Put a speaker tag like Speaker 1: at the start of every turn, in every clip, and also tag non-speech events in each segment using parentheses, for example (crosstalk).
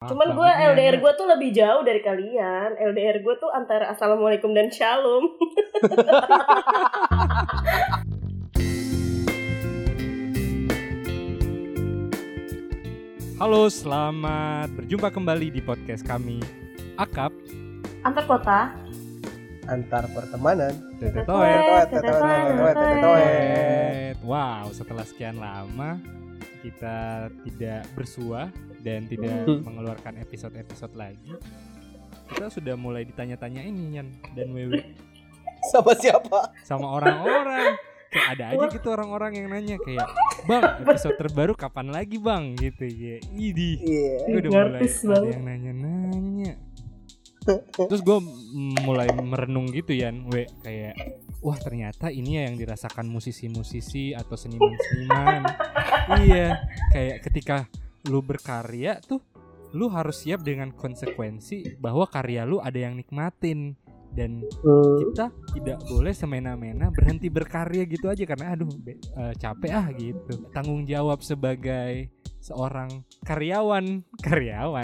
Speaker 1: Ah,
Speaker 2: Cuman gue LDR
Speaker 1: ya.
Speaker 2: gue tuh lebih jauh dari kalian. LDR gue tuh antara assalamualaikum dan shalom.
Speaker 1: Halo, selamat berjumpa kembali di podcast kami Akap
Speaker 2: Antar kota.
Speaker 3: antar pertemanan.
Speaker 1: Tetetoet.
Speaker 3: Tetoet, tetoet, tetoet, tetoet.
Speaker 1: Tetetoet. Wow, setelah sekian lama kita tidak bersua dan tidak
Speaker 3: Hmm.
Speaker 1: mengeluarkan episode-episode lagi. Kita sudah mulai ditanya-tanya ini Yan dan Wewe
Speaker 3: Sama siapa?
Speaker 1: sama orang-orang. Kayak ada aja gitu orang-orang yang nanya kayak, "Bang, episode terbaru kapan lagi, Bang?" gitu ya. Idih.
Speaker 3: Iya.
Speaker 1: Gue udah mulai
Speaker 2: Gratis
Speaker 1: ada
Speaker 2: banget.
Speaker 1: yang nanya-nanya Terus gue mulai merenung gitu Yan we Kayak Wah ternyata ini ya yang dirasakan musisi-musisi atau seniman-seniman Iya Kayak ketika lu berkarya tuh Lu harus siap dengan konsekuensi bahwa karya lu ada yang nikmatin Dan kita tidak boleh semena-mena berhenti berkarya gitu aja Karena aduh be- eh, capek ah gitu Tanggung jawab sebagai seorang karyawan Karyawan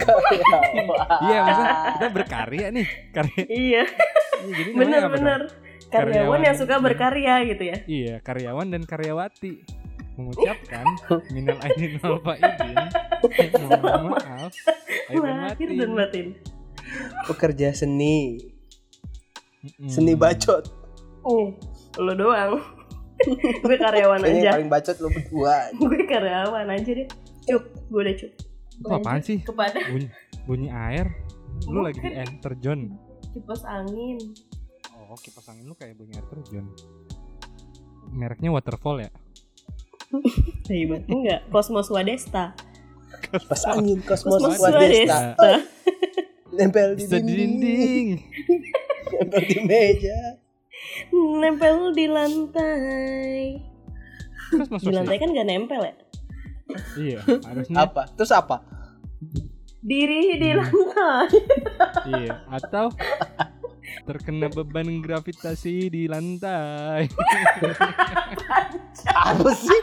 Speaker 1: Iya maksudnya kita berkarya nih karya.
Speaker 2: Iya,
Speaker 1: Iya, Jadi namanya apa dong?
Speaker 2: bener-bener. Karyawan
Speaker 1: Karyawan
Speaker 2: yang suka
Speaker 1: dan-
Speaker 2: berkarya gitu ya.
Speaker 1: Iya karyawan dan karyawati mengucapkan minal aidin wal faidin. Mohon maaf. Aidin
Speaker 2: Lahir
Speaker 1: batin.
Speaker 2: dan batin.
Speaker 3: (laughs) Pekerja seni,
Speaker 1: Mm-mm.
Speaker 3: seni bacot.
Speaker 2: Oh, lo doang. (laughs) gue karyawan
Speaker 3: Kayaknya yang
Speaker 2: aja.
Speaker 3: paling bacot lu berdua.
Speaker 2: gue karyawan aja deh. Cuk, gue udah cuk.
Speaker 1: Itu apaan sih?
Speaker 2: Kepada
Speaker 1: Bunyi, bunyi air. Lu lagi di air terjun.
Speaker 2: kipas angin.
Speaker 1: Oh kipas angin lu kayak bunyi air terjun. Mereknya waterfall ya.
Speaker 2: Hebat. Enggak, Cosmos Wadesta.
Speaker 3: Pas angin kosmos
Speaker 2: Kosmos
Speaker 1: Nah,
Speaker 3: wadesta.
Speaker 2: Wadesta.
Speaker 3: Nempel di
Speaker 1: Bisa di
Speaker 3: dinding,
Speaker 1: dinding.
Speaker 3: nempel di meja.
Speaker 2: Nempel di lantai.
Speaker 1: Terus masuk
Speaker 2: Di lantai
Speaker 1: sih.
Speaker 2: kan gak nempel ya?
Speaker 1: Iya, harusnya
Speaker 3: Hmm. Apa? Terus apa?
Speaker 2: Diri di
Speaker 1: Hmm.
Speaker 2: lantai. (laughs)
Speaker 1: Iya, atau terkena beban gravitasi di lantai.
Speaker 3: Apa sih?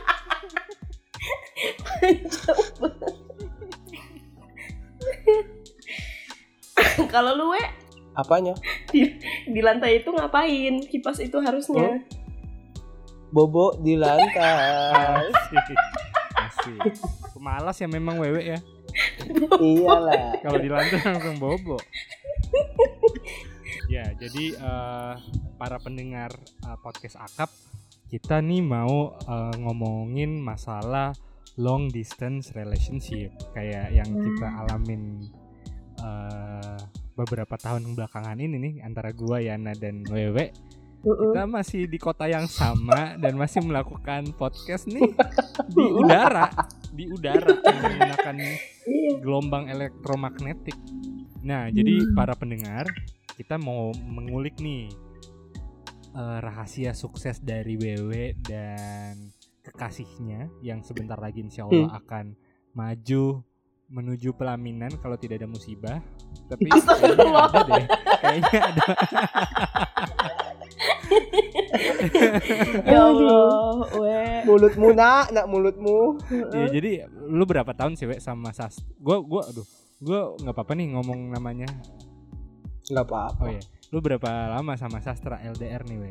Speaker 2: Kalau lu we,
Speaker 3: Apanya?
Speaker 2: di lantai itu ngapain? Kipas itu harusnya.
Speaker 3: Bobo di lantai.
Speaker 1: Asik. Asik. Pemalas ya memang wewe ya.
Speaker 3: (laughs) Iyalah.
Speaker 1: Kalau di lantai langsung bobo. Ya, jadi eh, para pendengar eh, podcast Akap, kita nih mau eh, ngomongin masalah long distance relationship kayak yang kita alamin eh, beberapa tahun belakangan ini nih antara gua Yana dan Wewe
Speaker 3: Oh,
Speaker 2: Heeh.
Speaker 1: kita masih di kota yang sama dan masih melakukan podcast nih di udara di udara menggunakan
Speaker 2: Iya.
Speaker 1: gelombang elektromagnetik nah jadi para pendengar kita mau mengulik nih eh, rahasia sukses dari WW dan kekasihnya yang sebentar lagi insya Allah akan maju menuju pelaminan kalau tidak ada musibah tapi kayaknya ada deh kayaknya ada
Speaker 2: (laughs) Ya Allah, we.
Speaker 3: Mulutmu nak, nak mulutmu.
Speaker 1: Iya jadi lu berapa tahun sih we sama Sas? Gua gua aduh, gua nggak apa-apa nih ngomong namanya.
Speaker 3: Enggak apa-apa.
Speaker 1: Oh iya. Lu berapa lama sama sastra LDR nih we?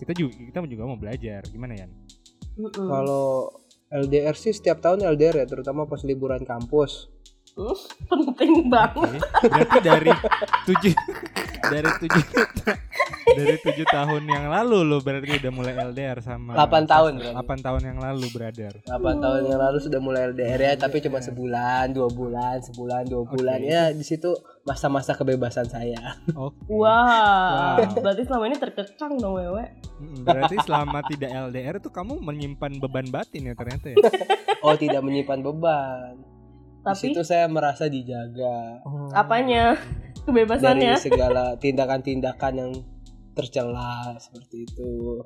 Speaker 1: Kita juga kita juga mau belajar. Gimana ya?
Speaker 3: Hmm.
Speaker 2: Heeh.
Speaker 3: Kalau LDR sih setiap tahun LDR ya, terutama pas liburan kampus.
Speaker 2: Heeh, Penting banget.
Speaker 1: Berarti dari tujuh dari tujuh (laughs) dari tujuh tahun yang lalu lu berarti udah mulai LDR sama
Speaker 3: Delapan tahun,
Speaker 1: sastra.
Speaker 3: berarti.
Speaker 1: Delapan tahun yang lalu brother
Speaker 3: 8 tahun yang lalu sudah mulai LDR ya, tapi cuma sebulan, dua bulan, sebulan, dua bulan.
Speaker 1: Oke.
Speaker 3: Ya, di situ masa-masa kebebasan saya.
Speaker 1: Oke
Speaker 2: Wow.
Speaker 1: Wow.
Speaker 2: Berarti selama ini terkekang dong wewe.
Speaker 1: Mm, Berarti selama tidak LDR tuh kamu menyimpan beban batin ya ternyata ya
Speaker 3: (laughs) Oh, tidak menyimpan beban. Di
Speaker 2: Tapi
Speaker 3: situ saya merasa dijaga
Speaker 2: apanya?
Speaker 3: dari
Speaker 2: Kebebasannya.
Speaker 3: segala tindakan-tindakan yang tercela seperti itu.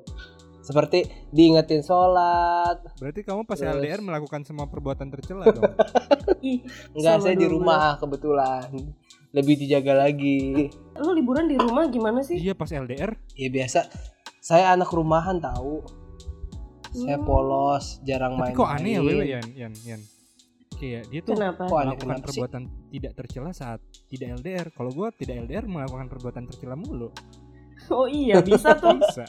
Speaker 3: Seperti diingetin sholat.
Speaker 1: Berarti kamu pas
Speaker 3: Terus.
Speaker 1: LDR melakukan semua perbuatan tercela
Speaker 3: (laughs)
Speaker 1: dong.
Speaker 2: Ih,
Speaker 3: Enggak,
Speaker 2: Sama
Speaker 3: saya di
Speaker 2: dulu.
Speaker 3: rumah kebetulan. Lebih dijaga lagi.
Speaker 2: lu liburan di rumah gimana sih?
Speaker 1: iya pas LDR.
Speaker 3: Ya biasa. Saya anak rumahan tahu. Saya
Speaker 2: Hmm.
Speaker 3: polos, jarang
Speaker 1: Tapi
Speaker 3: main. ya?
Speaker 1: kok aneh ya Wewe Yan, Yan, Yan. kayak dia
Speaker 3: Gitu.
Speaker 1: tuh
Speaker 2: Kenapa?
Speaker 3: Kok aneh
Speaker 1: melakukan
Speaker 3: kenapa sih?
Speaker 1: perbuatan tidak tercela saat tidak LDR. Kalau gua tidak LDR melakukan perbuatan tercela mulu.
Speaker 3: (laughs)
Speaker 2: Oh iya bisa tuh.
Speaker 1: Bisa.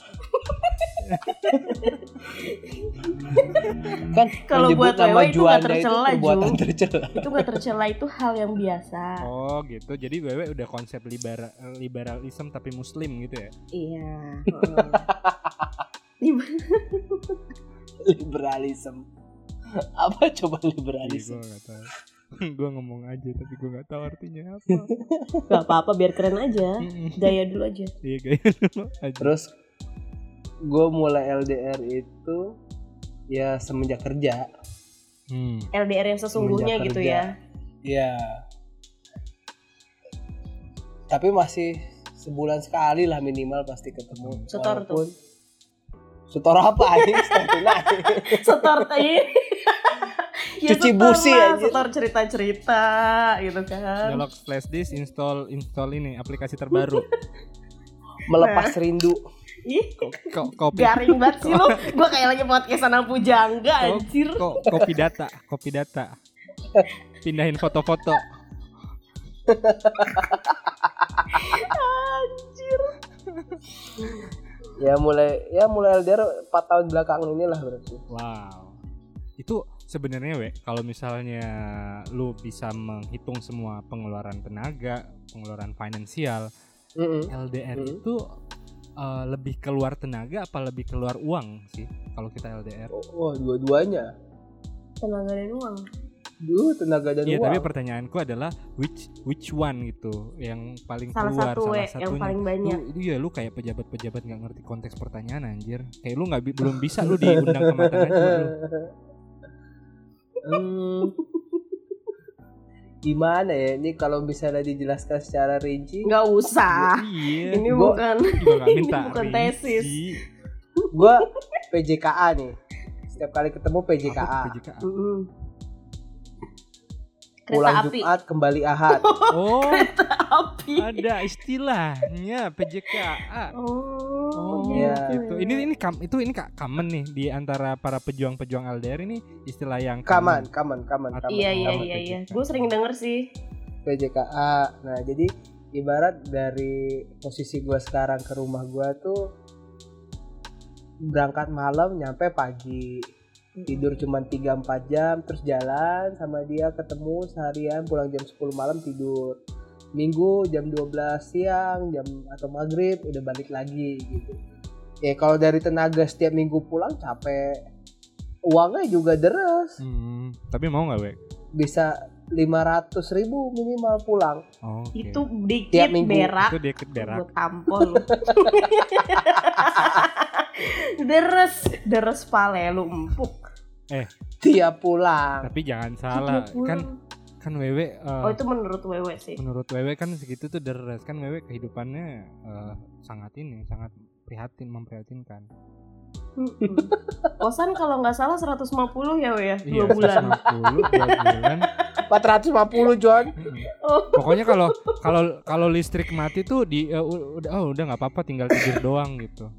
Speaker 3: Kan
Speaker 2: Kalau
Speaker 3: menyebut
Speaker 2: buat
Speaker 3: nama
Speaker 2: wewe itu nggak
Speaker 3: Juanda
Speaker 2: tercela, Ju.
Speaker 3: perbuatan tercela. (laughs)
Speaker 2: itu nggak tercela itu hal yang biasa.
Speaker 1: Oh gitu. Jadi wewe udah konsep libera- liberalism tapi muslim gitu ya.
Speaker 3: (laughs)
Speaker 2: Iya. heeh. Di-
Speaker 3: Liberalism. Apa coba
Speaker 1: Jadi
Speaker 3: liberalism?
Speaker 1: gua nggak tahu. (laughs) gua ngomong aja tapi gua nggak tahu artinya
Speaker 3: (laughs)
Speaker 1: apa.
Speaker 2: Gak apa-apa biar keren aja.
Speaker 1: Mm-mm.
Speaker 2: Gaya dulu aja.
Speaker 1: Iya gaya dulu aja.
Speaker 3: Terus gue mulai LDR itu ya semenjak kerja.
Speaker 1: Hmm.
Speaker 2: LDR yang sesungguhnya
Speaker 3: Semenjak
Speaker 2: gitu
Speaker 3: kerja.
Speaker 2: ya.
Speaker 3: Ya. Tapi masih sebulan sekali lah minimal pasti ketemu.
Speaker 2: Setor tuh.
Speaker 3: Walaupun- Setor apa
Speaker 2: (laughs)
Speaker 3: anjing? Setor tunai.
Speaker 2: Setor
Speaker 3: (laughs)
Speaker 2: (laughs) tadi.
Speaker 3: Cuci busi, anjir.
Speaker 2: Setor cerita-cerita gitu kan.
Speaker 1: Nyolok flash disk, install install ini aplikasi
Speaker 3: (laughs)
Speaker 1: terbaru.
Speaker 3: Melepas rindu.
Speaker 2: Ih,
Speaker 1: Kok kopi
Speaker 2: garing banget sih
Speaker 3: (laughs)
Speaker 2: lu. Gua kayak lagi podcast anak pujangga
Speaker 1: Kok-
Speaker 2: anjir.
Speaker 1: kok kopi data, kopi data. Pindahin foto-foto.
Speaker 2: Anjir.
Speaker 3: Ya mulai ya mulai LDR 4 tahun belakangan inilah berarti.
Speaker 1: Wow. Itu sebenarnya we, kalau misalnya lu bisa menghitung semua pengeluaran tenaga, pengeluaran finansial,
Speaker 3: Mm-mm.
Speaker 1: LDR
Speaker 3: Hmm.
Speaker 1: itu eh, lebih keluar tenaga apa lebih keluar uang sih kalau kita LDR?
Speaker 3: Oh, oh, dua-duanya.
Speaker 2: Tenaga dan uang.
Speaker 3: Duh, tenaga dan
Speaker 1: Iya,
Speaker 3: uang.
Speaker 1: tapi pertanyaanku adalah which which one gitu yang paling
Speaker 2: Salah
Speaker 1: keluar
Speaker 2: satu
Speaker 1: salah
Speaker 2: we, yang paling banyak.
Speaker 1: Lu, iya, lu kayak pejabat-pejabat nggak ngerti konteks pertanyaan anjir. Kayak lu nggak bi- belum bisa lu diundang ke Mataram Tour, lu.
Speaker 3: (laughs) Hmm. Gimana ya ini kalau misalnya dijelaskan secara rinci
Speaker 2: Nggak usah.
Speaker 1: Iya.
Speaker 2: Ah, Ini
Speaker 3: gua-
Speaker 2: bukan
Speaker 1: juga nggak
Speaker 2: (laughs) ini
Speaker 1: minta
Speaker 2: bukan
Speaker 1: rinci.
Speaker 2: tesis.
Speaker 3: Gua PJKA nih setiap kali ketemu
Speaker 1: Apa
Speaker 3: PJKA
Speaker 1: tuh PJKA?
Speaker 3: (laughs)
Speaker 2: Mm-mm. Kereta
Speaker 3: pulang
Speaker 2: api. (laughs)
Speaker 3: Jumat kembali Ahad
Speaker 1: Oh,
Speaker 3: kan
Speaker 2: Api.
Speaker 1: ada istilahnya PJKA.
Speaker 2: Oh,
Speaker 1: Oh,
Speaker 3: iya.
Speaker 1: Itu
Speaker 2: gitu ya.
Speaker 1: ini ini kam, itu ini kak common nih di antara para pejuang-pejuang LDR ini istilah yang
Speaker 3: kaman kaman kaman kaman
Speaker 2: Iya iya
Speaker 1: Kaman
Speaker 2: iya iya.
Speaker 1: PJK.
Speaker 2: Gue sering denger sih.
Speaker 3: Iya. PJKA nah jadi ibarat dari posisi gua sekarang ke rumah gua tuh berangkat malam nyampe pagi tidur cuma 3-4 jam terus jalan sama dia ketemu seharian pulang jam 10 malam tidur minggu jam 12 siang jam atau maghrib udah balik lagi gitu ya kalau dari tenaga setiap minggu pulang capek uangnya juga deres
Speaker 1: Hmm, tapi mau nggak wek?
Speaker 3: bisa 500.000 ribu minimal pulang
Speaker 1: Oh, oke.
Speaker 2: Itu
Speaker 3: Tiap
Speaker 2: dikit
Speaker 3: minggu.
Speaker 1: itu
Speaker 2: berak.
Speaker 1: dia ikut berak.
Speaker 2: Gue tampol. lu. (laughs) deres, deres pale lu empuk.
Speaker 3: tiap pulang
Speaker 1: Tapi jangan salah,
Speaker 2: Dia pulang.
Speaker 1: kan kan Wewe eh,
Speaker 2: Oh itu menurut Wewe sih.
Speaker 1: menurut Wewe kan segitu tuh deres kan Wewe kehidupannya eh, sangat ini sangat prihatin memprihatinkan.
Speaker 2: Mm-mm. Kosan kalau nggak salah 150 ya Wewe ya, dua
Speaker 1: Iya,
Speaker 2: bulan.
Speaker 1: 150, dua
Speaker 2: (laughs)
Speaker 1: bulan.
Speaker 3: 450 John
Speaker 1: Mm-mm.
Speaker 2: Oh.
Speaker 1: Pokoknya kalau kalau kalau listrik mati tuh di eh, u- udah oh udah nggak apa-apa tinggal tidur doang gitu.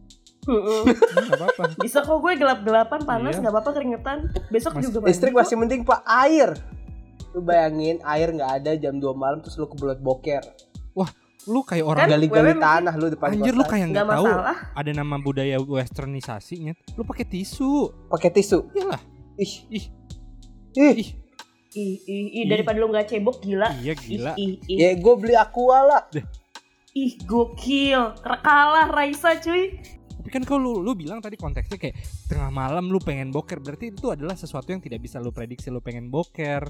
Speaker 2: Mm-mm.
Speaker 1: Hmm, Nggak apa-apa.
Speaker 2: Bisa kok gue gelap-gelapan panas
Speaker 1: Iya.
Speaker 2: nggak apa-apa keringetan. Besok
Speaker 1: Mas-
Speaker 2: juga mandi
Speaker 3: listrik
Speaker 2: kok.
Speaker 3: masih penting pak air lu bayangin air nggak ada jam 2 malam terus lu kebelet boker
Speaker 1: Lu kayak orang
Speaker 2: Kan,
Speaker 3: gali-gali
Speaker 2: Wewe
Speaker 3: tanah lu depan
Speaker 1: anjir lu
Speaker 3: kosan
Speaker 1: kayak
Speaker 2: nggak
Speaker 1: nggak tahu
Speaker 2: masalah.
Speaker 1: ada nama budaya westernisasi nyet. Lu pakai tisu.
Speaker 3: pakai tisu
Speaker 1: Iyalah.
Speaker 3: ih
Speaker 1: Ih.
Speaker 3: ih
Speaker 1: Ih,
Speaker 2: Ih, ih, ih, daripada lu nggak cebok gila.
Speaker 1: iya gila.
Speaker 2: Ih, ih, ih,
Speaker 3: ya gue beli aqua lah
Speaker 2: ih gokil. Kalah Raisa cuy.
Speaker 1: Tapi kan kalau lu, lu bilang tadi konteksnya kayak tengah malam lu pengen boker, berarti itu adalah sesuatu yang tidak bisa lu prediksi lu pengen boker.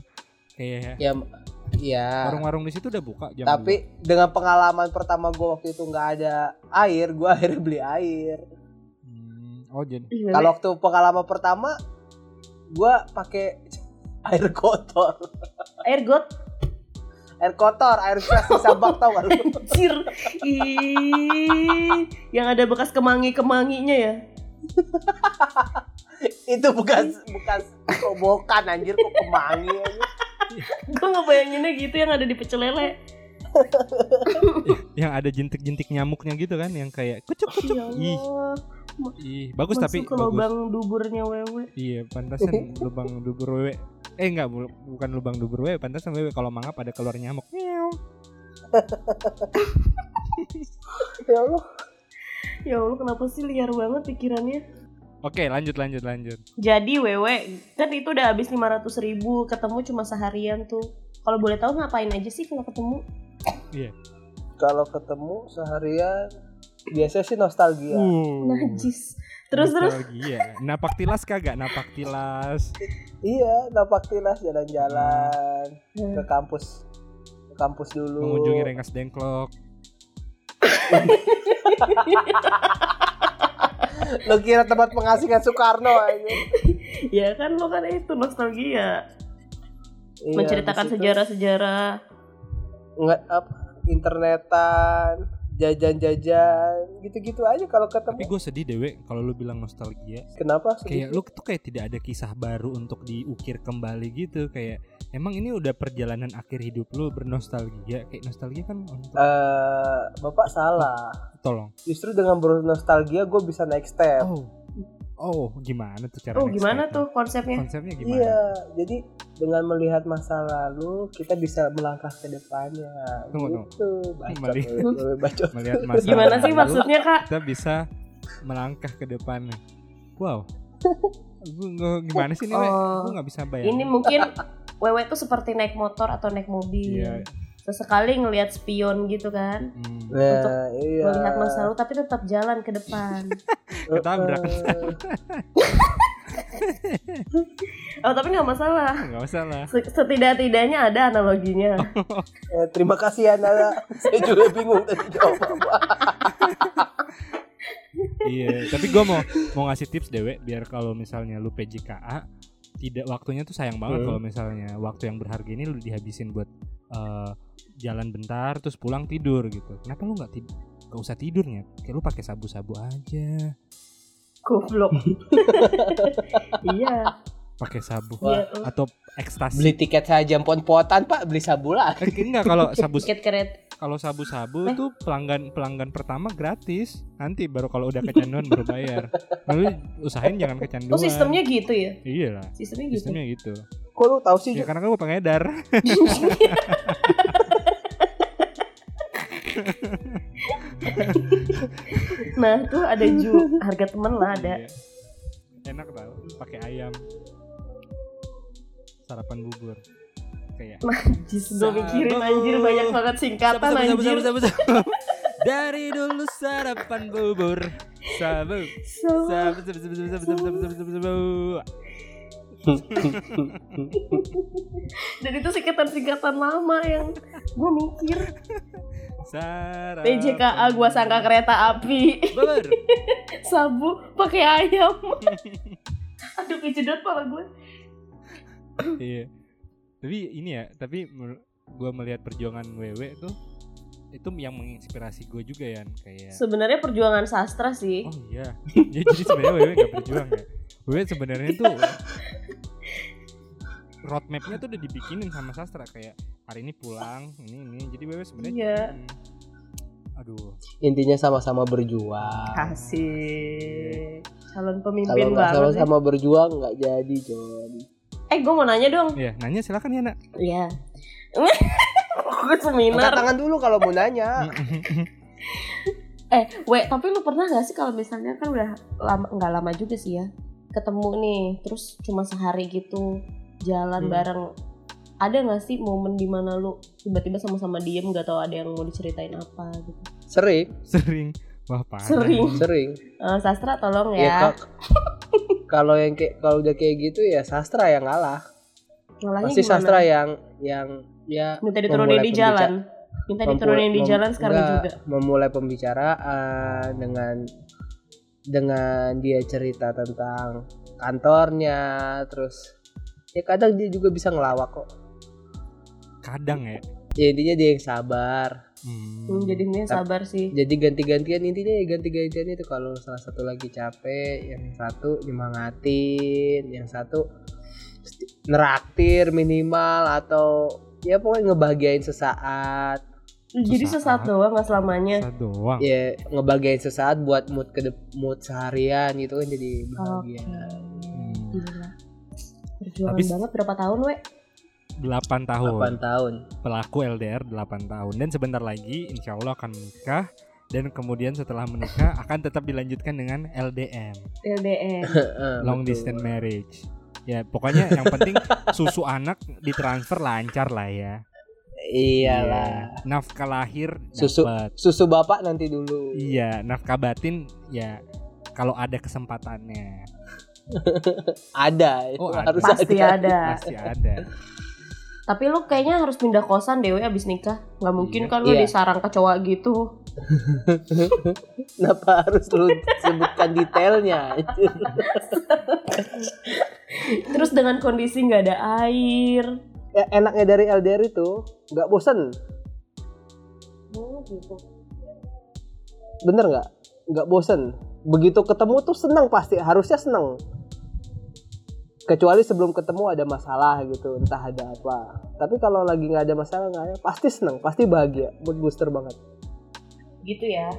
Speaker 1: Kayak
Speaker 3: ya
Speaker 2: Nah.
Speaker 3: ya
Speaker 1: warung-warung di situ udah buka jam
Speaker 3: tapi dengan pengalaman pertama gue waktu itu nggak ada air gue (laughs) akhirnya beli air
Speaker 1: dua. Hmm, oh jadi
Speaker 2: Ih, Wewe.
Speaker 3: kalau waktu pengalaman pertama gue pakai air kotor
Speaker 2: air got
Speaker 3: air kotor air fresh sisa bak tau gak lu?
Speaker 2: anjir. Ih, yang ada bekas kemangi-kemanginya ya.
Speaker 3: itu bukan bukan kobokan anjir kok kemangi anjir.
Speaker 2: Gue ngebayanginnya gitu yang ada di pecel lele.
Speaker 1: yang ada jentik-jentik nyamuknya gitu kan yang kayak kucuk kucuk.
Speaker 2: Ya
Speaker 1: Ih,
Speaker 2: Allah.
Speaker 1: ih, bagus
Speaker 2: Masuk
Speaker 1: tapi
Speaker 2: ke
Speaker 1: bagus.
Speaker 2: lubang duburnya wewe. (laughs)
Speaker 1: Iya, pantasan lubang dubur wewe eh enggak bu- bukan lubang dubur we pantasan we kalau mangap ada keluar nyamuk Meow.
Speaker 3: ya Allah
Speaker 2: Ya Allah kenapa sih liar banget pikirannya
Speaker 1: oke lanjut lanjut lanjut
Speaker 2: Jadi wewe Kan itu udah habis 500 ribu Ketemu cuma seharian tuh Kalau boleh tahu ngapain aja sih kalau ketemu
Speaker 3: kalau ketemu seharian biasanya sih nostalgia
Speaker 1: Uh,
Speaker 2: Najis Nah, Terus terus
Speaker 1: nostalgia. napak tilas kagak napak tilas
Speaker 3: iya napak tilas jalan-jalan
Speaker 2: Hmm.
Speaker 3: ke kampus ke kampus dulu
Speaker 1: mengunjungi rengas dengklok
Speaker 3: lo kira tempat pengasingan Soekarno aja
Speaker 2: Ya kan lo kan itu nostalgia
Speaker 3: Iya,
Speaker 2: Menceritakan
Speaker 3: di situ
Speaker 2: sejarah-sejarah
Speaker 3: nggak apa internetan jajan-jajan gitu-gitu aja kalau
Speaker 1: tapi
Speaker 3: ketemu
Speaker 1: gue sedih dewe kalau lu bilang nostalgia
Speaker 3: kenapa
Speaker 1: kayak
Speaker 3: sedih?
Speaker 1: lu tuh kayak tidak ada kisah baru untuk diukir kembali gitu kayak emang ini udah perjalanan akhir hidup lu bernostalgia kayak nostalgia kan untuk
Speaker 3: Eh, bapak salah
Speaker 1: tolong
Speaker 3: justru dengan bernostalgia gue bisa naik step
Speaker 1: oh oh gimana tuh cara
Speaker 2: Iya. Oh
Speaker 1: next
Speaker 2: gimana
Speaker 1: step-nya?
Speaker 2: tuh konsepnya
Speaker 1: konsepnya gimana
Speaker 3: iya jadi dengan melihat masa lalu kita bisa melangkah ke depannya
Speaker 1: Tunggu, tunggu.
Speaker 3: gitu bacot,
Speaker 1: Melihat-
Speaker 3: lu, lu
Speaker 1: (laughs)
Speaker 3: bacot.
Speaker 2: (laughs)
Speaker 1: melihat masa
Speaker 2: Gimana sih
Speaker 1: lalu,
Speaker 2: maksudnya kak
Speaker 1: kita bisa melangkah ke depannya
Speaker 2: (laughs)
Speaker 1: wow Gua nggak- gimana sih ini Wek?
Speaker 2: Oh.
Speaker 1: Gua nggak bisa bayangin
Speaker 2: Ini mungkin Wewe tuh seperti naik motor atau naik mobil
Speaker 1: Iya.
Speaker 2: Sesekali ngelihat spion gitu kan
Speaker 1: Hmm.
Speaker 3: nah, iya
Speaker 2: Melihat masa lalu tapi tetap jalan ke depan (laughs)
Speaker 1: ketabrak
Speaker 3: Eh,
Speaker 2: Oh tapi nggak masalah
Speaker 1: nggak usah lah
Speaker 2: Se- Setidak-tidaknya ada analoginya
Speaker 1: Ah.
Speaker 3: eh, terima kasih ya
Speaker 1: (laughs)
Speaker 3: Nala saya juga bingung tadi jawab apa
Speaker 1: iya tapi gue mau mau ngasih tips dewe biar kalau misalnya lu PJKA tidak waktunya tuh sayang banget
Speaker 3: Hmm.
Speaker 1: kalau misalnya waktu yang berharga ini lu dihabisin buat eh, jalan bentar terus pulang tidur gitu kenapa lu nggak tidur gak usah tidurnya kayak lu pakai sabu-sabu aja (laughs)
Speaker 2: Goblok Iya
Speaker 1: pakai sabu
Speaker 3: Wah.
Speaker 2: Iya oh.
Speaker 1: atau ekstasi
Speaker 3: beli tiket saja pon-potan pak beli sabulan
Speaker 1: Eh, enggak
Speaker 2: (laughs)
Speaker 1: kalau sabu
Speaker 2: Tiket kereta
Speaker 1: kalau sabu-sabu
Speaker 2: Eh.
Speaker 1: tuh pelanggan pelanggan pertama gratis nanti baru kalau udah kecanduan baru bayar lalu usahain jangan kecanduan
Speaker 2: Oh sistemnya gitu ya
Speaker 1: iya lah
Speaker 2: Sistemnya gitu
Speaker 1: sistemnya gitu
Speaker 3: kok lu tahu sih
Speaker 1: ya
Speaker 3: Ju?
Speaker 1: karena gue pengedar
Speaker 2: Nah tuh ada Ju Harga temen lah ada
Speaker 1: Iya. enak tau pakai ayam sarapan bubur ya. kayak
Speaker 2: (laughs) Jis gue mikirin anjir Banyak banget singkatan anjir
Speaker 1: dari dulu sarapan bubur sabu
Speaker 2: So-
Speaker 1: sabu sabu sabu sabu sabu sabu sabu sabu sabu
Speaker 2: Dan itu singkatan-singkatan lama yang gue mikir
Speaker 1: sarapan
Speaker 2: PJKA gua sangka kereta api
Speaker 1: bubur
Speaker 2: Sabu pakai ayam (laughs) Aduh kejedot pala gue
Speaker 1: iya tapi ini ya tapi gue melihat perjuangan wewe tuh itu yang menginspirasi gue juga ya kayak
Speaker 2: Sebenarnya perjuangan sastra sih
Speaker 1: oh iya (laughs) Ya, jadi sebenarnya wewe gak berjuang ya wewe sebenarnya tuh
Speaker 2: Iya.
Speaker 1: roadmapnya tuh udah dibikinin sama sastra kayak hari ini pulang ini ini jadi wewe sebenarnya
Speaker 2: Iya.
Speaker 1: hmm, aduh
Speaker 3: intinya sama-sama berjuang
Speaker 2: Kasih Calon
Speaker 3: kalau
Speaker 2: pemimpin
Speaker 3: nggak
Speaker 2: banget ya.
Speaker 3: sama-sama berjuang nggak jadi John
Speaker 2: Eh gue mau nanya dong
Speaker 1: ya nanya silakan ya nak
Speaker 2: (laughs) Iya Gue
Speaker 3: angkat
Speaker 2: seminar
Speaker 3: tangan dulu kalau mau
Speaker 2: Ah.
Speaker 3: nanya
Speaker 1: Hmm.
Speaker 2: Eh we tapi lu pernah gak sih kalau misalnya kan udah lama nggak lama juga sih ya Ketemu nih terus cuma sehari gitu Jalan
Speaker 3: Hmm.
Speaker 2: bareng ada gak sih momen dimana lu tiba-tiba sama-sama diem gak tahu ada yang mau diceritain apa gitu
Speaker 3: sering
Speaker 1: (laughs) sering wah parah
Speaker 2: Sering.
Speaker 3: sering
Speaker 2: Eh, sastra tolong
Speaker 3: ya,
Speaker 2: ya,
Speaker 3: Kak. kalau yang kayak kalau udah kayak gitu ya sastra yang ngalah
Speaker 2: Ngelahnya
Speaker 3: pasti
Speaker 2: gimana?
Speaker 3: sastra yang yang ya
Speaker 2: minta diturunin
Speaker 3: memulai
Speaker 2: di jalan minta diturunin
Speaker 3: mempu-
Speaker 2: di
Speaker 3: mem-
Speaker 2: jalan sekarang
Speaker 3: enggak,
Speaker 2: juga
Speaker 3: memulai pembicaraan dengan dengan dia cerita tentang kantornya terus ya kadang dia juga bisa ngelawak kok
Speaker 1: kadang ya
Speaker 3: ya intinya dia yang sabar
Speaker 1: Hmm.
Speaker 2: Hmm, jadinya sabar sih
Speaker 3: jadi ganti-gantian intinya ya ganti-gantian itu kalau salah satu lagi capek yang satu nyemangatin yang satu sti- neraktir minimal atau ya pokoknya ngebahagiain sesaat
Speaker 2: jadi
Speaker 1: sesaat.
Speaker 2: sesaat doang nggak selamanya
Speaker 1: Satu doang
Speaker 2: Iya.
Speaker 3: ya ngebagiin sesaat buat mood ke mood seharian gitu kan jadi bahagia
Speaker 2: Oke.
Speaker 1: Hmm.
Speaker 2: Gila. Perjuangan
Speaker 1: Habis-
Speaker 2: banget berapa tahun we?
Speaker 1: 8 tahun
Speaker 4: 8 tahun
Speaker 1: pelaku LDR 8 tahun dan sebentar lagi insya Allah akan menikah dan kemudian setelah menikah akan tetap dilanjutkan dengan LDM
Speaker 3: (laughs)
Speaker 2: LDM.
Speaker 4: Heeh,
Speaker 1: long
Speaker 4: betul.
Speaker 1: distance marriage ya pokoknya yang penting susu anak ditransfer lancar lah ya
Speaker 3: Iyalah.
Speaker 1: Iya. nafkah lahir
Speaker 3: Susu.
Speaker 1: dapet.
Speaker 3: Susu bapak nanti dulu.
Speaker 1: iya nafkah batin ya kalau ada kesempatannya
Speaker 3: Ada, itu
Speaker 1: Oh, ada.
Speaker 3: harus
Speaker 2: Pasti
Speaker 3: ada.
Speaker 2: ada.
Speaker 1: pasti ada
Speaker 2: Tapi lu kayaknya harus pindah kosan deh we abis nikah. Nggak mungkin
Speaker 1: Iya.
Speaker 2: kan lu
Speaker 3: Iya.
Speaker 2: disarang kecoa gitu.
Speaker 3: Kenapa harus lu
Speaker 1: (laughs)
Speaker 3: sebutkan detailnya?
Speaker 2: Terus dengan kondisi nggak ada air.
Speaker 3: Ya, enaknya dari LDR itu nggak bosen,
Speaker 2: Oh gitu.
Speaker 3: bener nggak? Nggak bosen. Begitu ketemu tuh seneng pasti, harusnya seneng. Kecuali sebelum ketemu ada masalah gitu, entah ada apa. Tapi kalau lagi nggak ada masalah nggak ada, pasti seneng, pasti bahagia, mood booster banget,
Speaker 2: Gitu ya.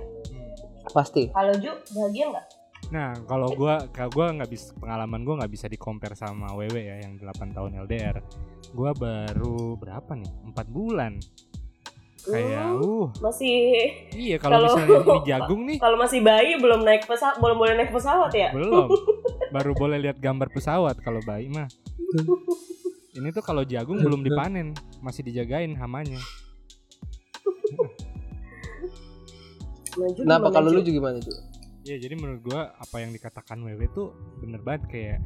Speaker 3: pasti.
Speaker 2: Kalau Ju bahagia nggak?
Speaker 1: Nah, kalau gua kalau gua nggak bisa pengalaman gua nggak bisa di compare sama Wewe ya yang 8 tahun LDR. Gua baru berapa nih? 4 bulan. Kayak uh,
Speaker 2: Masih (laughs)
Speaker 1: iya kalau
Speaker 2: Hmm. Kalau-
Speaker 1: misalnya
Speaker 2: (laughs)
Speaker 1: ini jagung nih
Speaker 2: kalau masih bayi belum naik pesawat, belum boleh naik pesawat ya? (laughs)
Speaker 1: belum. Baru boleh lihat gambar pesawat kalau bayi mah. Ini tuh kalau jagung belum dipanen, masih dijagain hamanya.
Speaker 3: Kenapa Nah, kalau lu juga gimana tuh?
Speaker 1: Ya jadi menurut gua apa yang dikatakan Wewe tuh bener banget kayak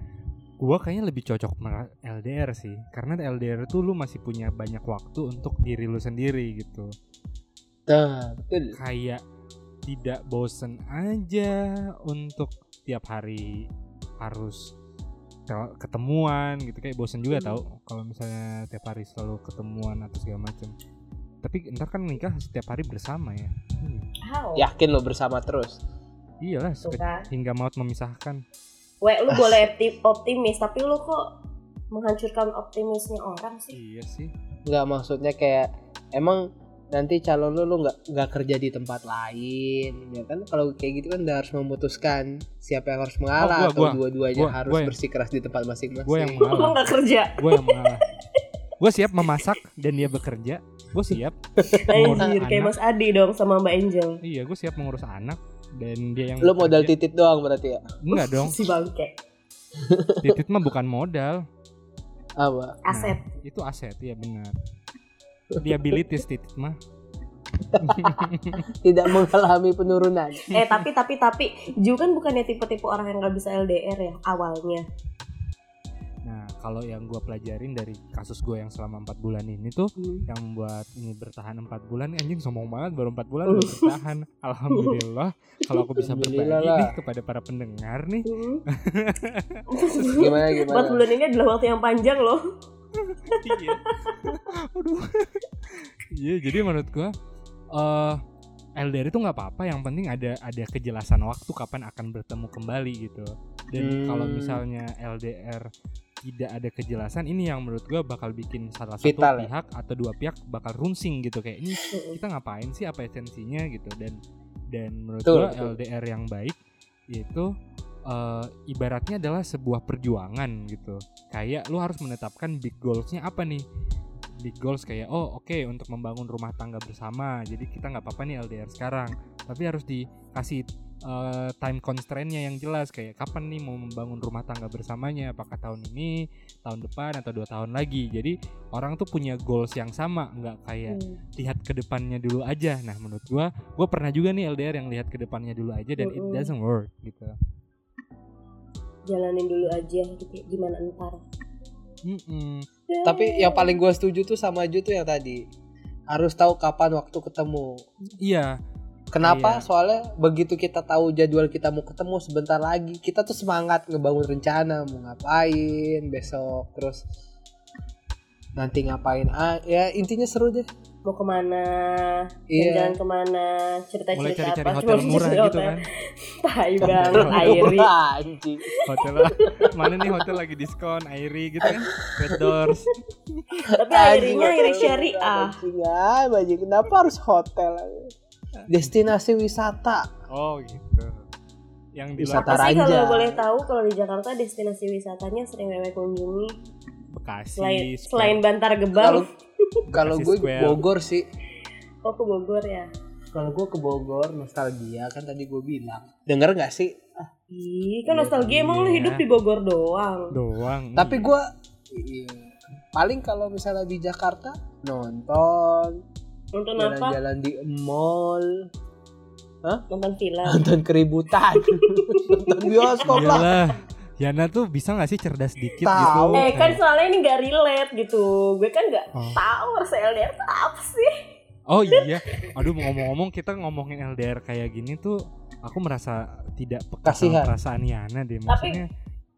Speaker 1: gua kayaknya lebih cocok sama LDR sih karena LDR tuh lu masih punya banyak waktu untuk diri lu sendiri gitu
Speaker 3: Nah, betul.
Speaker 1: kayak tidak bosen aja untuk tiap hari harus tel- ketemuan gitu kayak bosen juga tau kalau misalnya tiap hari selalu ketemuan atau segala macam tapi ntar kan nikah setiap hari bersama ya Hmm,
Speaker 3: Yakin lo bersama terus.
Speaker 1: iyalah seke- hingga maut memisahkan
Speaker 2: Weh, gitu kan. lu boleh opti- optimis, tapi lu kok menghancurkan optimisnya orang sih?
Speaker 1: iya sih
Speaker 3: nggak maksudnya kayak emang nanti calon lu lu nggak nggak kerja di tempat lain ya kan kalau kayak gitu kan udah harus memutuskan siapa yang harus mengalah
Speaker 1: Oh, gua-
Speaker 3: atau
Speaker 1: gua-
Speaker 3: dua-duanya
Speaker 1: gua-
Speaker 3: harus
Speaker 1: gua yang-
Speaker 3: bersikeras di tempat masing-masing
Speaker 1: gue yang
Speaker 2: (laughs) Lu
Speaker 1: mengalah
Speaker 2: nggak kerja?
Speaker 1: gue yang mengalah gue siap memasak dan dia bekerja gue siap mengurus
Speaker 2: Anjir, kayak
Speaker 1: anak
Speaker 2: Mas Adi dong sama Mbak Angel.
Speaker 1: iya gue siap mengurus anak dan dia yang
Speaker 3: lu modal
Speaker 1: bekerja.
Speaker 3: titit doang berarti ya
Speaker 1: enggak dong
Speaker 2: Si bangke,
Speaker 1: titit mah bukan modal
Speaker 3: apa
Speaker 2: aset.
Speaker 1: Nah, itu aset ya benar liabilities titit mah
Speaker 3: tidak mengalami penurunan
Speaker 1: Nah.
Speaker 2: Eh tapi tapi tapi Ju kan bukannya tipe-tipe orang yang nggak bisa LDR ya awalnya.
Speaker 1: nah kalau yang gue pelajarin dari kasus gue yang selama empat bulan ini tuh
Speaker 3: Hmm.
Speaker 2: (laughs)
Speaker 1: yang membuat ini bertahan empat bulan anjing sombong banget baru empat bulan udah
Speaker 3: (laughs)
Speaker 1: bertahan alhamdulillah kalau aku bisa berbagi
Speaker 3: Alhamdulillah lah.
Speaker 1: nih kepada para pendengar nih
Speaker 2: Hmm.
Speaker 3: gimana
Speaker 2: Buat
Speaker 3: gimana
Speaker 2: bulan ini adalah waktu yang panjang loh.
Speaker 1: iya. Aduh. Iya, jadi menurut gua eh LDR itu nggak apa-apa, yang penting ada ada kejelasan waktu kapan akan bertemu kembali gitu. Dan
Speaker 3: Hmm.
Speaker 1: kalau misalnya LDR tidak ada kejelasan, ini yang menurut gua bakal bikin salah
Speaker 3: Vital
Speaker 1: satu
Speaker 3: ya?
Speaker 1: pihak atau dua pihak bakal runsing gitu kayak ini kita ngapain sih apa esensinya gitu dan dan menurut
Speaker 3: Betul,
Speaker 1: gua
Speaker 3: betul.
Speaker 1: LDR yang baik yaitu eh, ibaratnya adalah sebuah perjuangan gitu kayak lu harus menetapkan big goalsnya apa nih big goals kayak oh oke untuk membangun rumah tangga bersama jadi kita nggak apa-apa nih LDR sekarang tapi harus dikasih eh, time constraint-nya yang jelas kayak kapan nih mau membangun rumah tangga bersamanya apakah tahun ini tahun depan atau dua tahun lagi jadi orang tuh punya goals yang sama nggak kayak
Speaker 2: Hmm.
Speaker 1: lihat ke depannya dulu aja. Nah, menurut gua, gua pernah juga nih LDR yang lihat ke depannya dulu aja dan it
Speaker 2: Mm-mm.
Speaker 1: doesn't work gitu.
Speaker 2: Jalanin dulu aja gitu. Gimana ntar?
Speaker 1: Mm-mm.
Speaker 3: tapi yang paling gue setuju tuh sama Ju tuh yang tadi harus tahu kapan waktu ketemu
Speaker 1: Iya,
Speaker 3: Kenapa?
Speaker 1: Iya.
Speaker 3: Soalnya begitu kita tahu jadwal kita mau ketemu sebentar lagi, kita tuh semangat ngebangun rencana mau ngapain besok, terus nanti ngapain. Ah, ya intinya seru deh.
Speaker 2: mau kemana?
Speaker 3: Iya.
Speaker 2: Jalan kemana? Cerita-cerita
Speaker 1: mulai cari-cari
Speaker 2: apa?
Speaker 1: hotel
Speaker 2: Cuma
Speaker 1: murah
Speaker 2: cerita
Speaker 1: gitu
Speaker 2: hotel.
Speaker 1: kan.
Speaker 2: Tai
Speaker 1: Hotel
Speaker 2: banget
Speaker 1: murah.
Speaker 2: Airi.
Speaker 3: Wah, anjing.
Speaker 1: Hotel mana nih hotel lagi diskon, Airi gitu kan. Red Doors.
Speaker 2: Tapi
Speaker 3: Anjing,
Speaker 2: airinya airi
Speaker 3: hotel.
Speaker 2: syariah.
Speaker 3: Bajingan, bajingan. Kenapa harus hotel? Destinasi wisata.
Speaker 1: Oh, gitu. yang di
Speaker 3: Wisata
Speaker 1: luar
Speaker 2: Apa sih kalau
Speaker 3: Taranja.
Speaker 2: boleh tahu kalau di Jakarta destinasi wisatanya sering Wewe kunjungi
Speaker 1: Bekasi,
Speaker 2: selain
Speaker 1: Square.
Speaker 2: selain Bantar
Speaker 3: Kalau
Speaker 2: Gebang,
Speaker 3: kalau
Speaker 1: Kasih
Speaker 3: gue
Speaker 1: square.
Speaker 3: Bogor sih.
Speaker 2: oh ke Bogor ya?
Speaker 3: Kalau gue ke Bogor nostalgia kan tadi gue bilang. Denger nggak sih?
Speaker 2: Ih, kan
Speaker 1: Iya,
Speaker 2: nostalgia emang lu
Speaker 1: iya.
Speaker 2: hidup di Bogor doang.
Speaker 1: doang.
Speaker 3: Tapi
Speaker 1: Iya.
Speaker 3: gue iya. paling kalau misalnya di Jakarta nonton,
Speaker 2: Nonton
Speaker 1: Iya,
Speaker 2: apa?
Speaker 3: jalan-jalan di mall,
Speaker 2: Nonton film.
Speaker 3: nonton keributan, (laughs) nonton bioskop lah.
Speaker 1: Iyalah. Yana tuh bisa gak sih cerdas dikit
Speaker 3: Tahu.
Speaker 1: gitu?
Speaker 2: Eh kan
Speaker 1: Kayak,
Speaker 2: soalnya ini gak relate gitu Gue kan gak
Speaker 1: Oh.
Speaker 2: tahu harus LDR tuh apa sih
Speaker 1: Oh iya. Aduh ngomong-ngomong kita ngomongin LDR kayak gini tuh aku merasa tidak peka
Speaker 3: Kasihan.
Speaker 1: sama perasaan Yana deh
Speaker 2: Tapi-
Speaker 1: maksudnya.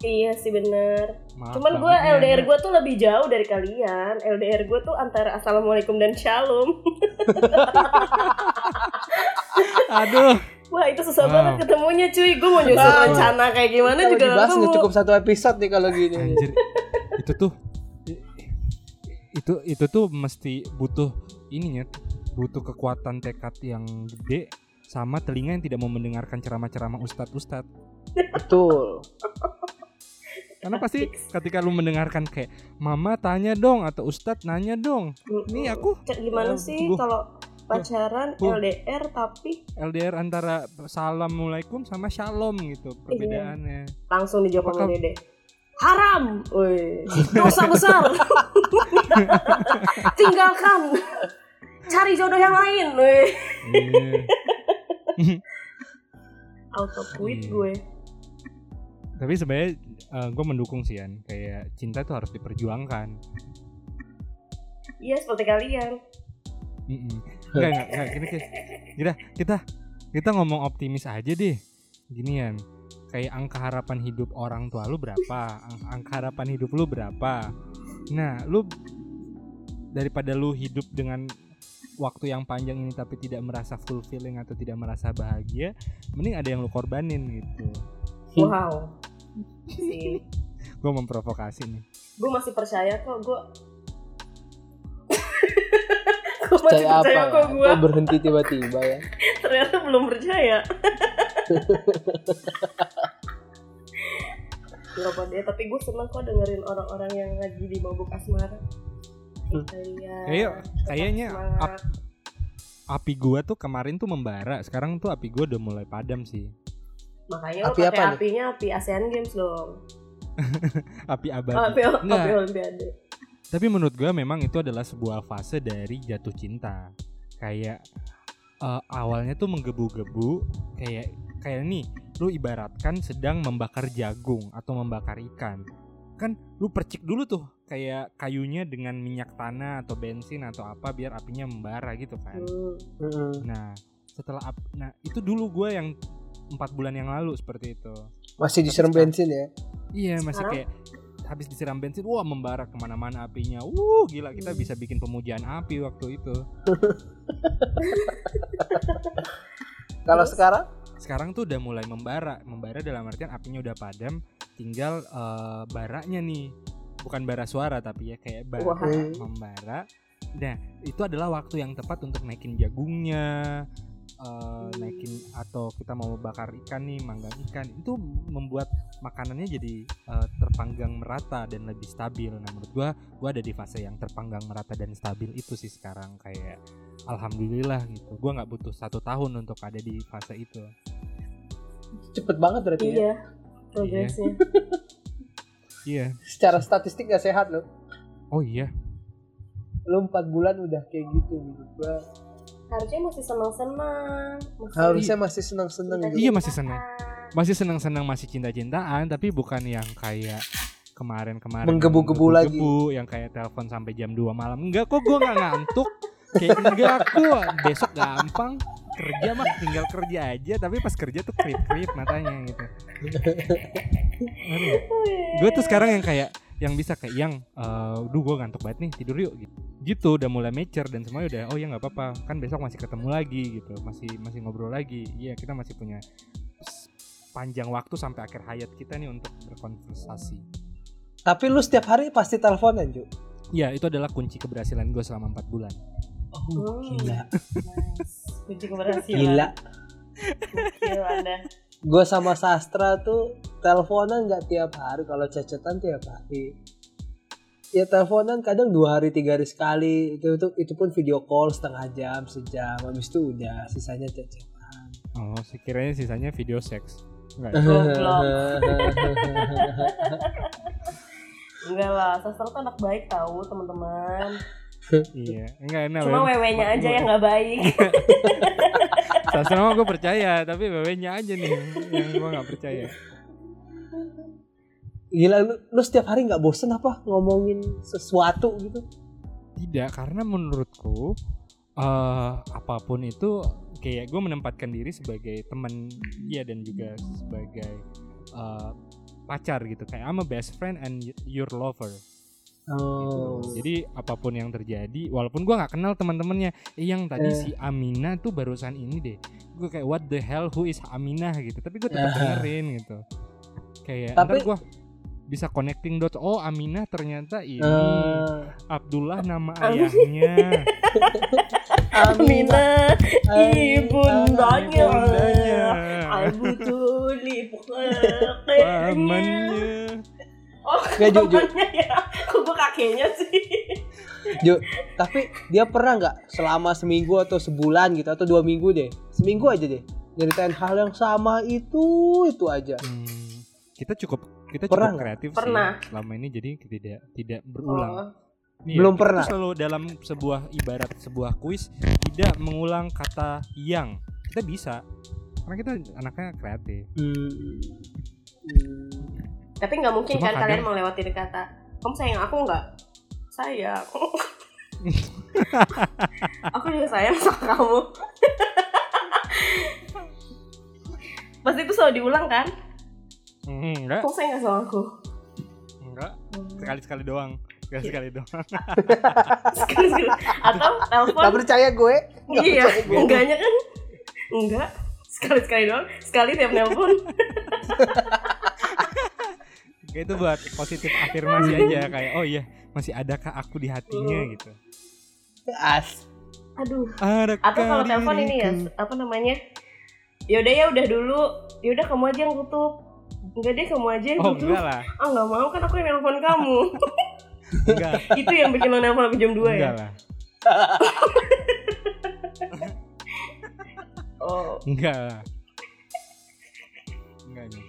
Speaker 2: Iya sih bener
Speaker 1: maaf
Speaker 2: Cuman gue
Speaker 1: banget nih,
Speaker 2: LDR
Speaker 1: Yana.
Speaker 2: gue tuh lebih jauh dari kalian LDR gue tuh antara Assalamualaikum dan Shalom
Speaker 1: Aduh.
Speaker 2: Wah itu susah
Speaker 1: Wow.
Speaker 2: banget ketemunya cuy Gue mau nyusun
Speaker 3: Wow.
Speaker 2: rencana kayak gimana
Speaker 3: Kalau
Speaker 2: juga gak
Speaker 3: dibahas nggak
Speaker 2: ketemu
Speaker 3: cukup satu episode nih kalau gini.
Speaker 1: Anjir. itu tuh i- itu itu tuh mesti butuh ininya butuh kekuatan tekad yang gede sama telinga yang tidak mau mendengarkan ceramah-ceramah ustadz-ustadz
Speaker 3: Betul.
Speaker 1: karena pasti ketika lu mendengarkan kayak mama tanya dong atau ustadz nanya dong nih aku
Speaker 2: Cek
Speaker 1: Eh,
Speaker 2: Gimana sih
Speaker 1: tunggu.
Speaker 2: kalau pacaran
Speaker 1: Tunggu.
Speaker 2: LDR tapi
Speaker 1: LDR antara assalamualaikum sama shalom gitu perbedaannya
Speaker 2: langsung dijawab
Speaker 1: Apakah-
Speaker 2: sama dede haram, woi dosa
Speaker 1: (laughs)
Speaker 2: besar, tinggalkan, cari jodoh yang lain, woi
Speaker 1: Iya.
Speaker 2: auto
Speaker 1: Iya.
Speaker 2: quit gue.
Speaker 1: tapi sebenarnya gue mendukung sih Yan kayak cinta tuh harus diperjuangkan
Speaker 2: Iya seperti kalian.
Speaker 1: Mm-mm. Enggak, enggak, enggak. Gini, Ki. Gini, kita kita ngomong optimis aja deh. Ginian. Kayak angka harapan hidup orang tua lu berapa? Ang- Angka harapan hidup lu berapa? Nah, lu daripada lu hidup dengan waktu yang panjang ini tapi tidak merasa fulfilling atau tidak merasa bahagia, mending ada yang lu korbanin gitu.
Speaker 3: Hmm.
Speaker 2: Wow. Sih.
Speaker 1: Gue memprovokasi nih.
Speaker 2: Gue masih percaya kok gue. (laughs) gue masih
Speaker 3: Kayak apa?
Speaker 2: percaya
Speaker 3: Ya?
Speaker 2: kok gue.
Speaker 3: Kok berhenti tiba-tiba ya?
Speaker 2: Ternyata belum percaya. Gak apa deh, tapi gue seneng kok dengerin orang-orang yang lagi di mabuk asmara.
Speaker 3: Hmm.
Speaker 2: Kayak
Speaker 1: Kayak Ya, kayaknya
Speaker 2: semangat.
Speaker 1: Iya. ap- api gua tuh kemarin tuh membara, sekarang tuh api gua udah mulai padam sih.
Speaker 2: Makanya lo
Speaker 3: Api
Speaker 2: pakai
Speaker 3: apa nih?
Speaker 2: apinya api ASEAN Games dong.
Speaker 1: Api abadi.
Speaker 2: Oh, api,
Speaker 1: Enggak.
Speaker 2: api Olimpiade.
Speaker 1: Tapi menurut gue memang itu adalah sebuah fase dari jatuh cinta. Kayak eh, awalnya tuh menggebu-gebu, kayak kayak nih, lu ibaratkan sedang membakar jagung atau membakar ikan. Kan lu percik dulu tuh kayak kayunya dengan minyak tanah atau bensin atau apa biar apinya membara gitu kan.
Speaker 2: Hmm.
Speaker 3: Mm-mm.
Speaker 1: Nah, setelah ap- nah itu dulu gue yang empat bulan yang lalu seperti itu.
Speaker 3: Masih disiram bensin ya?
Speaker 1: Iya masih
Speaker 2: Sekarang?
Speaker 1: kayak habis disiram bensin, wah membara kemana-mana apinya. Wuh gila kita bisa bikin pemujaan api waktu itu.
Speaker 3: Kalau
Speaker 2: Terus?
Speaker 3: sekarang?
Speaker 1: Sekarang tuh udah mulai membara, membara dalam artian apinya udah padam, tinggal eh, baranya nih, bukan bara suara tapi ya kayak bara
Speaker 2: Wah.
Speaker 1: membara. Nah itu adalah waktu yang tepat untuk naikin jagungnya, eh, naikin atau kita mau bakar ikan nih, manggang ikan itu membuat makanannya jadi eh, terpanggang merata dan lebih stabil. Nah menurut gua, gua ada di fase yang terpanggang merata dan stabil itu sih sekarang kayak alhamdulillah gitu. Gua nggak butuh satu tahun untuk ada di fase itu.
Speaker 3: Cepet banget berarti ya?
Speaker 2: Iya. Progresnya.
Speaker 1: Iya.
Speaker 3: Secara statistik gak sehat loh.
Speaker 1: Oh iya.
Speaker 3: Lu 4 bulan udah kayak gitu menurut gua.
Speaker 2: Harusnya masih senang-senang. Masih
Speaker 3: Harusnya masih senang-senang gitu.
Speaker 1: Iya masih senang. Masih senang-senang masih cinta-cintaan tapi bukan yang kayak kemarin-kemarin
Speaker 3: Menggebu-gebu lagi.
Speaker 1: menggebu-gebu, yang kayak telepon sampai jam 2 malam. Enggak kok gua nggak ngantuk. kayak enggak kok besok gampang kerja mah tinggal kerja aja tapi pas kerja tuh krip-krip matanya gitu. Ngerti nggak? gue tuh sekarang yang kayak yang bisa kayak yang eh, duh gue ngantuk banget nih tidur yuk gitu. gitu udah mulai mature dan semuanya udah oh ya nggak apa-apa kan besok masih ketemu lagi gitu masih masih ngobrol lagi iya kita masih punya s- panjang waktu sampai akhir hayat kita nih untuk berkonversasi
Speaker 3: Tapi lu setiap hari pasti teleponan, Ju.
Speaker 1: ya itu adalah kunci keberhasilan gue selama empat bulan
Speaker 2: Oh, iya.
Speaker 3: Gila.
Speaker 2: Nice. Kunci keberhasilan.
Speaker 3: Gila.
Speaker 2: Gokil Anda.
Speaker 3: gue sama sastra tuh teleponan nggak tiap hari kalau cecetan tiap hari ya teleponan kadang dua hari tiga hari sekali itu itu itu pun video call setengah jam sejam habis itu udah sisanya cecetan
Speaker 1: Oh, sekiranya sisanya video seks. Enggak. ya?
Speaker 2: Goblok. Enggak lah, sastra tuh anak baik tahu teman-teman.
Speaker 1: iya, enggak enak.
Speaker 2: Cuma
Speaker 1: Beb.
Speaker 2: wewe-nya aja
Speaker 1: Gua-
Speaker 2: yang nggak baik.
Speaker 1: Sastra mah gue percaya, tapi wewe-nya aja nih yang gue nggak percaya.
Speaker 3: (laughs) gila lu, lu setiap hari nggak bosen apa ngomongin sesuatu gitu
Speaker 1: Tidak, karena menurutku eh apapun itu kayak gue menempatkan diri sebagai teman dia dan juga sebagai eh, pacar gitu kayak I'm a best friend and y- your lover
Speaker 3: oh
Speaker 1: jadi apapun yang terjadi walaupun gua nggak kenal teman-temannya eh, yang tadi
Speaker 3: Eh.
Speaker 1: si Aminah tuh barusan ini deh gue kayak what the hell who is Aminah gitu tapi gue tetap
Speaker 3: Ah.
Speaker 1: dengerin gitu kayak
Speaker 3: Tapi-
Speaker 1: ntar gue bisa connecting dots oh Aminah ternyata ini
Speaker 3: Eh,
Speaker 1: Abdullah nama
Speaker 2: Amin.
Speaker 1: ayahnya
Speaker 2: (laughs)
Speaker 3: Aminah,
Speaker 2: Mina, ibundanya.
Speaker 1: bundanya
Speaker 2: Aku tuh lipuk
Speaker 1: pamannya
Speaker 2: Oh,
Speaker 3: Nggak, Ju, Ju.
Speaker 2: pamannya ya. Kok gue kakeknya sih?
Speaker 3: Jo, tapi dia pernah nggak selama seminggu atau sebulan gitu atau dua minggu deh, seminggu aja deh nyeritain hal yang sama itu itu aja.
Speaker 1: Hmm, kita cukup kita
Speaker 3: Pernah
Speaker 1: cukup
Speaker 3: nggak?
Speaker 1: kreatif
Speaker 2: Pernah.
Speaker 1: sih selama ini jadi tidak tidak berulang
Speaker 2: Oh,
Speaker 1: Iya,
Speaker 3: Belum
Speaker 1: kita tuh
Speaker 3: pernah.
Speaker 1: Selalu dalam sebuah ibarat sebuah kuis tidak mengulang kata yang kita bisa karena kita anaknya kreatif.
Speaker 3: Hmm. Hmm.
Speaker 2: Tapi nggak mungkin
Speaker 1: Cuma
Speaker 2: kan
Speaker 1: kadang-
Speaker 2: kalian mau lewatin kata kamu sayang aku nggak? Sayang. aku juga sayang sama kamu. Pasti itu selalu diulang kan?
Speaker 1: Hmm, enggak,
Speaker 2: Kamu sayang nggak sama aku?
Speaker 1: enggak sekali sekali doang,
Speaker 3: Iya.
Speaker 1: sekali sekali doang. (laughs)
Speaker 2: Sekali-sekali. Atau
Speaker 3: Gak
Speaker 2: telepon?
Speaker 3: percaya gue? Gak
Speaker 2: Iya.
Speaker 3: percaya gue.
Speaker 2: Enggaknya kan? Enggak. Sekali-sekali doang. Sekali tiap nelpon.
Speaker 1: Kayak itu buat positif afirmasi aja kayak oh iya masih adakah aku di
Speaker 3: Hmm.
Speaker 1: hatinya gitu.
Speaker 3: As.
Speaker 2: Aduh.
Speaker 1: Adakah
Speaker 2: Atau kalau telepon ini ya,
Speaker 1: diriku?
Speaker 2: apa namanya? Yaudah ya udah dulu. Yaudah kamu aja yang tutup. Enggak deh kamu aja yang
Speaker 1: Oh
Speaker 2: tutup.
Speaker 1: enggak lah,
Speaker 2: Ah nggak mau kan aku yang nelpon kamu.
Speaker 1: enggak,
Speaker 2: itu yang bikin lo nelpon sampai jam 2 ya.
Speaker 1: enggak lah,
Speaker 2: Oh.
Speaker 1: enggak lah. Enggak nih.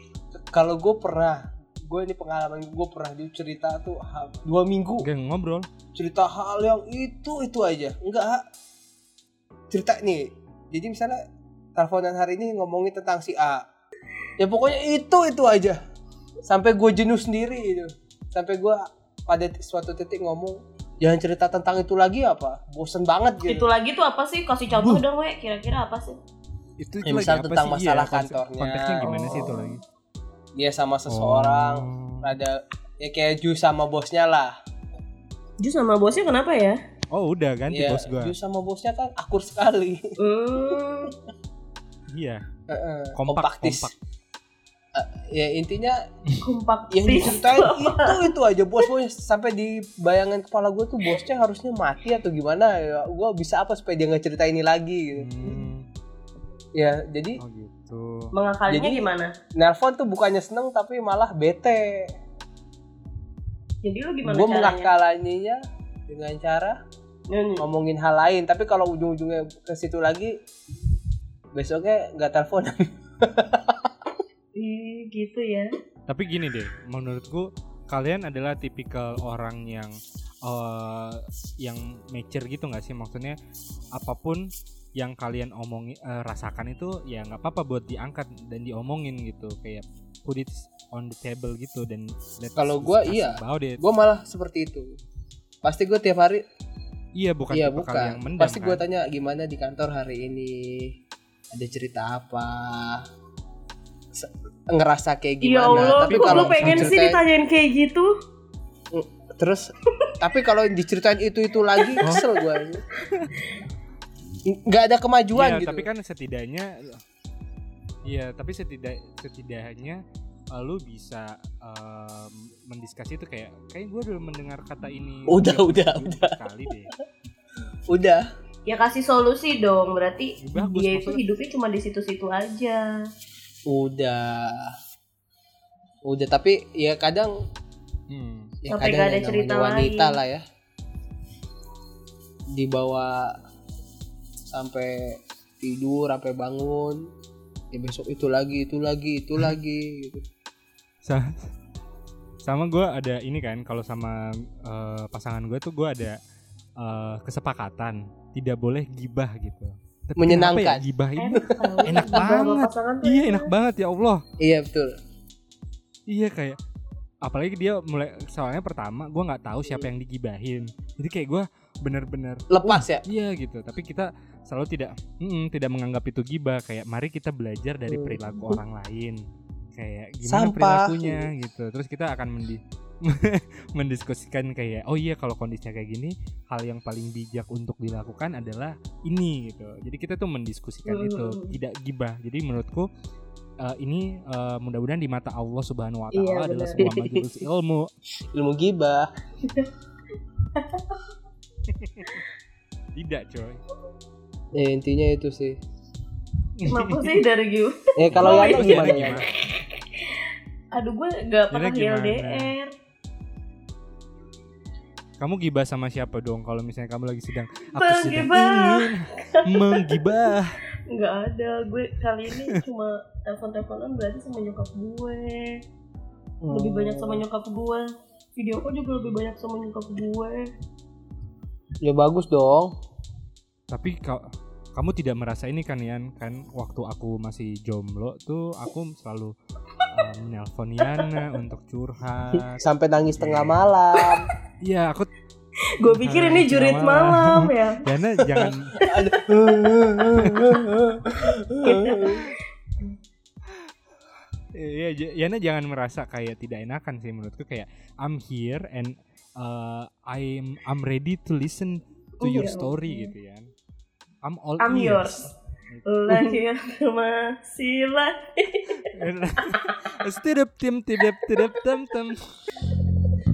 Speaker 3: Kalau gue pernah, gue ini pengalaman gue pernah dia cerita tuh ha- dua minggu
Speaker 1: Enggak ngobrol.
Speaker 3: cerita hal yang itu itu aja. Enggak. Cerita nih. Jadi misalnya teleponan hari ini ngomongin tentang si A. Ya pokoknya itu itu aja. Sampai gue jenuh sendiri itu. Sampai gue pada t- suatu titik ngomong jangan cerita tentang itu lagi apa bosen banget gitu
Speaker 2: Itu lagi tuh apa sih? Kasih contoh dong, we. Kira-kira apa sih?
Speaker 1: Itu,
Speaker 3: Ya, misal tentang
Speaker 1: Iya,
Speaker 3: masalah
Speaker 1: konse-
Speaker 3: kantornya.
Speaker 1: Konteksnya gimana sih itu
Speaker 2: Oh.
Speaker 1: lagi?
Speaker 3: dia Iya, sama seseorang
Speaker 1: Oh.
Speaker 3: ada ya kayak Ju sama bosnya lah.
Speaker 2: Jus sama bosnya kenapa ya?
Speaker 1: Oh udah ganti
Speaker 3: ya,
Speaker 1: bos gua.
Speaker 3: Ju sama bosnya kan akur sekali. (laughs)
Speaker 2: Hmm.
Speaker 1: Iya.
Speaker 3: Heeh,
Speaker 1: Kompak,
Speaker 3: kompaktis.
Speaker 1: kompak.
Speaker 3: Ya intinya
Speaker 2: Kompak
Speaker 3: yang
Speaker 2: sih.
Speaker 3: diceritain itu itu aja bos bos sampai di bayangan kepala gue tuh bosnya harusnya mati atau gimana ya gue bisa apa supaya dia nggak cerita ini lagi gitu.
Speaker 1: Hmm,
Speaker 3: ya jadi
Speaker 1: oh gitu.
Speaker 2: Mengakalinya
Speaker 3: Jadi-
Speaker 2: gimana?
Speaker 3: nelpon tuh bukannya seneng tapi malah bete
Speaker 2: Jadi lu gimana
Speaker 3: gue
Speaker 2: caranya?
Speaker 3: mengakalannya dengan cara
Speaker 2: Hmm.
Speaker 3: ngomongin hal lain tapi kalau ujung-ujungnya ke situ lagi besoknya nggak telepon
Speaker 2: Ih, gitu ya.
Speaker 1: Tapi gini deh, menurutku kalian adalah tipikal orang yang eh, yang mature gitu nggak sih? Maksudnya apapun yang kalian omongin eh, rasakan itu ya nggak apa-apa buat diangkat dan diomongin gitu kayak put it on the table gitu dan let's
Speaker 3: Kalau (laughs) gua,
Speaker 1: discuss
Speaker 3: iya.
Speaker 1: about it.
Speaker 3: gue malah seperti itu pasti gue tiap hari
Speaker 1: iya bukan
Speaker 3: iya
Speaker 1: tipikal yang
Speaker 3: bukan
Speaker 1: mendam
Speaker 3: pasti gue
Speaker 1: kan?
Speaker 3: tanya gimana di kantor hari ini ada cerita apa Se- ngerasa kayak
Speaker 2: Ya
Speaker 3: gimana
Speaker 2: Allah,
Speaker 3: tapi
Speaker 2: kok
Speaker 3: kalau
Speaker 2: lu pengen sih ditanyain
Speaker 3: diceritain-
Speaker 2: kayak gitu?
Speaker 3: terus tapi kalau diceritain itu itu lagi
Speaker 1: Oh.
Speaker 3: kesel gue nggak ada kemajuan
Speaker 1: Iya,
Speaker 3: gitu
Speaker 1: tapi kan setidaknya Iya, tapi setidak setidaknya eh, lu bisa em, mendiskasi itu kayak kayak gue udah mendengar kata ini
Speaker 3: Udah,
Speaker 1: tiap
Speaker 3: udah,
Speaker 1: minggu sekali deh.
Speaker 3: udah
Speaker 2: Ya kasih solusi dong. Berarti
Speaker 1: Bagus,
Speaker 2: dia itu
Speaker 1: maksudnya.
Speaker 2: hidupnya cuma di situ-situ aja.
Speaker 3: udah udah tapi ya kadang
Speaker 1: Hmm.
Speaker 3: ya
Speaker 2: Sampai
Speaker 3: kadang
Speaker 2: nggak ada
Speaker 3: yang
Speaker 2: cerita
Speaker 3: namanya wanita
Speaker 2: lain.
Speaker 3: lah ya dibawa sampai tidur sampai bangun ya besok itu lagi itu lagi
Speaker 2: Hmm.
Speaker 3: itu lagi gitu.
Speaker 1: Sa- sama gue ada ini kan kalau sama eh, pasangan gue tuh gue ada eh, kesepakatan tidak boleh gibah gitu Tapi
Speaker 3: Menyenangkan.
Speaker 1: kenapa ya gibah ini
Speaker 2: Enak tau.
Speaker 1: (laughs) Enak
Speaker 2: Gibah Kan? sama
Speaker 1: banget.
Speaker 2: pasangan tuh
Speaker 1: iya enak banget ya Allah
Speaker 3: iya betul
Speaker 1: iya kayak apalagi dia mulai soalnya pertama gue nggak tahu siapa yang digibahin jadi kayak gue bener-bener
Speaker 3: lepas ya
Speaker 1: Iya gitu, tapi kita selalu tidak mm, tidak menganggap itu gibah kayak mari kita belajar dari
Speaker 3: Hmm.
Speaker 1: perilaku orang lain. Kayak gimana
Speaker 3: Sampah.
Speaker 1: perilakunya gitu. Terus kita akan mendi- (laughs) mendiskusikan kayak oh iya kalau kondisinya kayak gini, hal yang paling bijak untuk dilakukan adalah ini gitu. Jadi kita tuh mendiskusikan
Speaker 2: Hmm.
Speaker 1: itu, tidak gibah. Jadi menurutku eh, ini eh, mudah-mudahan di mata Allah Subhanahu wa
Speaker 2: Iya,
Speaker 1: taala adalah
Speaker 2: benar.
Speaker 1: sebuah majelis ilmu.
Speaker 3: ilmu gibah
Speaker 1: Tidak, coy.
Speaker 3: ya, intinya itu sih
Speaker 2: Kenapa sih dari gue?
Speaker 3: eh kalau
Speaker 2: Oh,
Speaker 3: Yana
Speaker 2: iya.
Speaker 3: gimana ya
Speaker 2: Aduh gue gak pernah
Speaker 1: Jadi gimana?
Speaker 2: (laughs) LDR
Speaker 1: Kamu gibah sama siapa dong kalau misalnya kamu lagi sedang aku
Speaker 2: Bang,
Speaker 1: sedang
Speaker 2: gibah.
Speaker 1: ingin menggibah.
Speaker 2: Gak ada Gue kali ini cuma telepon-teleponan berarti sama nyokap gue lebih banyak
Speaker 1: Oh.
Speaker 2: sama nyokap gue video aku juga lebih banyak sama nyokap gue
Speaker 1: (laughs)
Speaker 3: ya bagus dong
Speaker 1: Tapi kau kamu tidak merasa ini kan Yan kan waktu aku masih jomblo tuh aku selalu uh, menelpon Yana untuk
Speaker 2: Ah.
Speaker 1: curhat.
Speaker 3: sampai nangis tengah malam
Speaker 2: (laughs)
Speaker 1: Iya, aku
Speaker 2: gue pikir ini
Speaker 1: Ah,
Speaker 2: jurit
Speaker 1: kenapa?
Speaker 2: malam ya
Speaker 1: Yana jangan iya J- Yana jangan merasa kayak tidak enakan sih menurutku kayak I'm here and uh, I'm I'm ready to listen to your
Speaker 2: Iya.
Speaker 1: story gitu Yan. I'm all
Speaker 2: I'm
Speaker 1: ears.
Speaker 2: yours lahir (laughs) masih lah
Speaker 1: Tidap tim tidap tidap tem tem.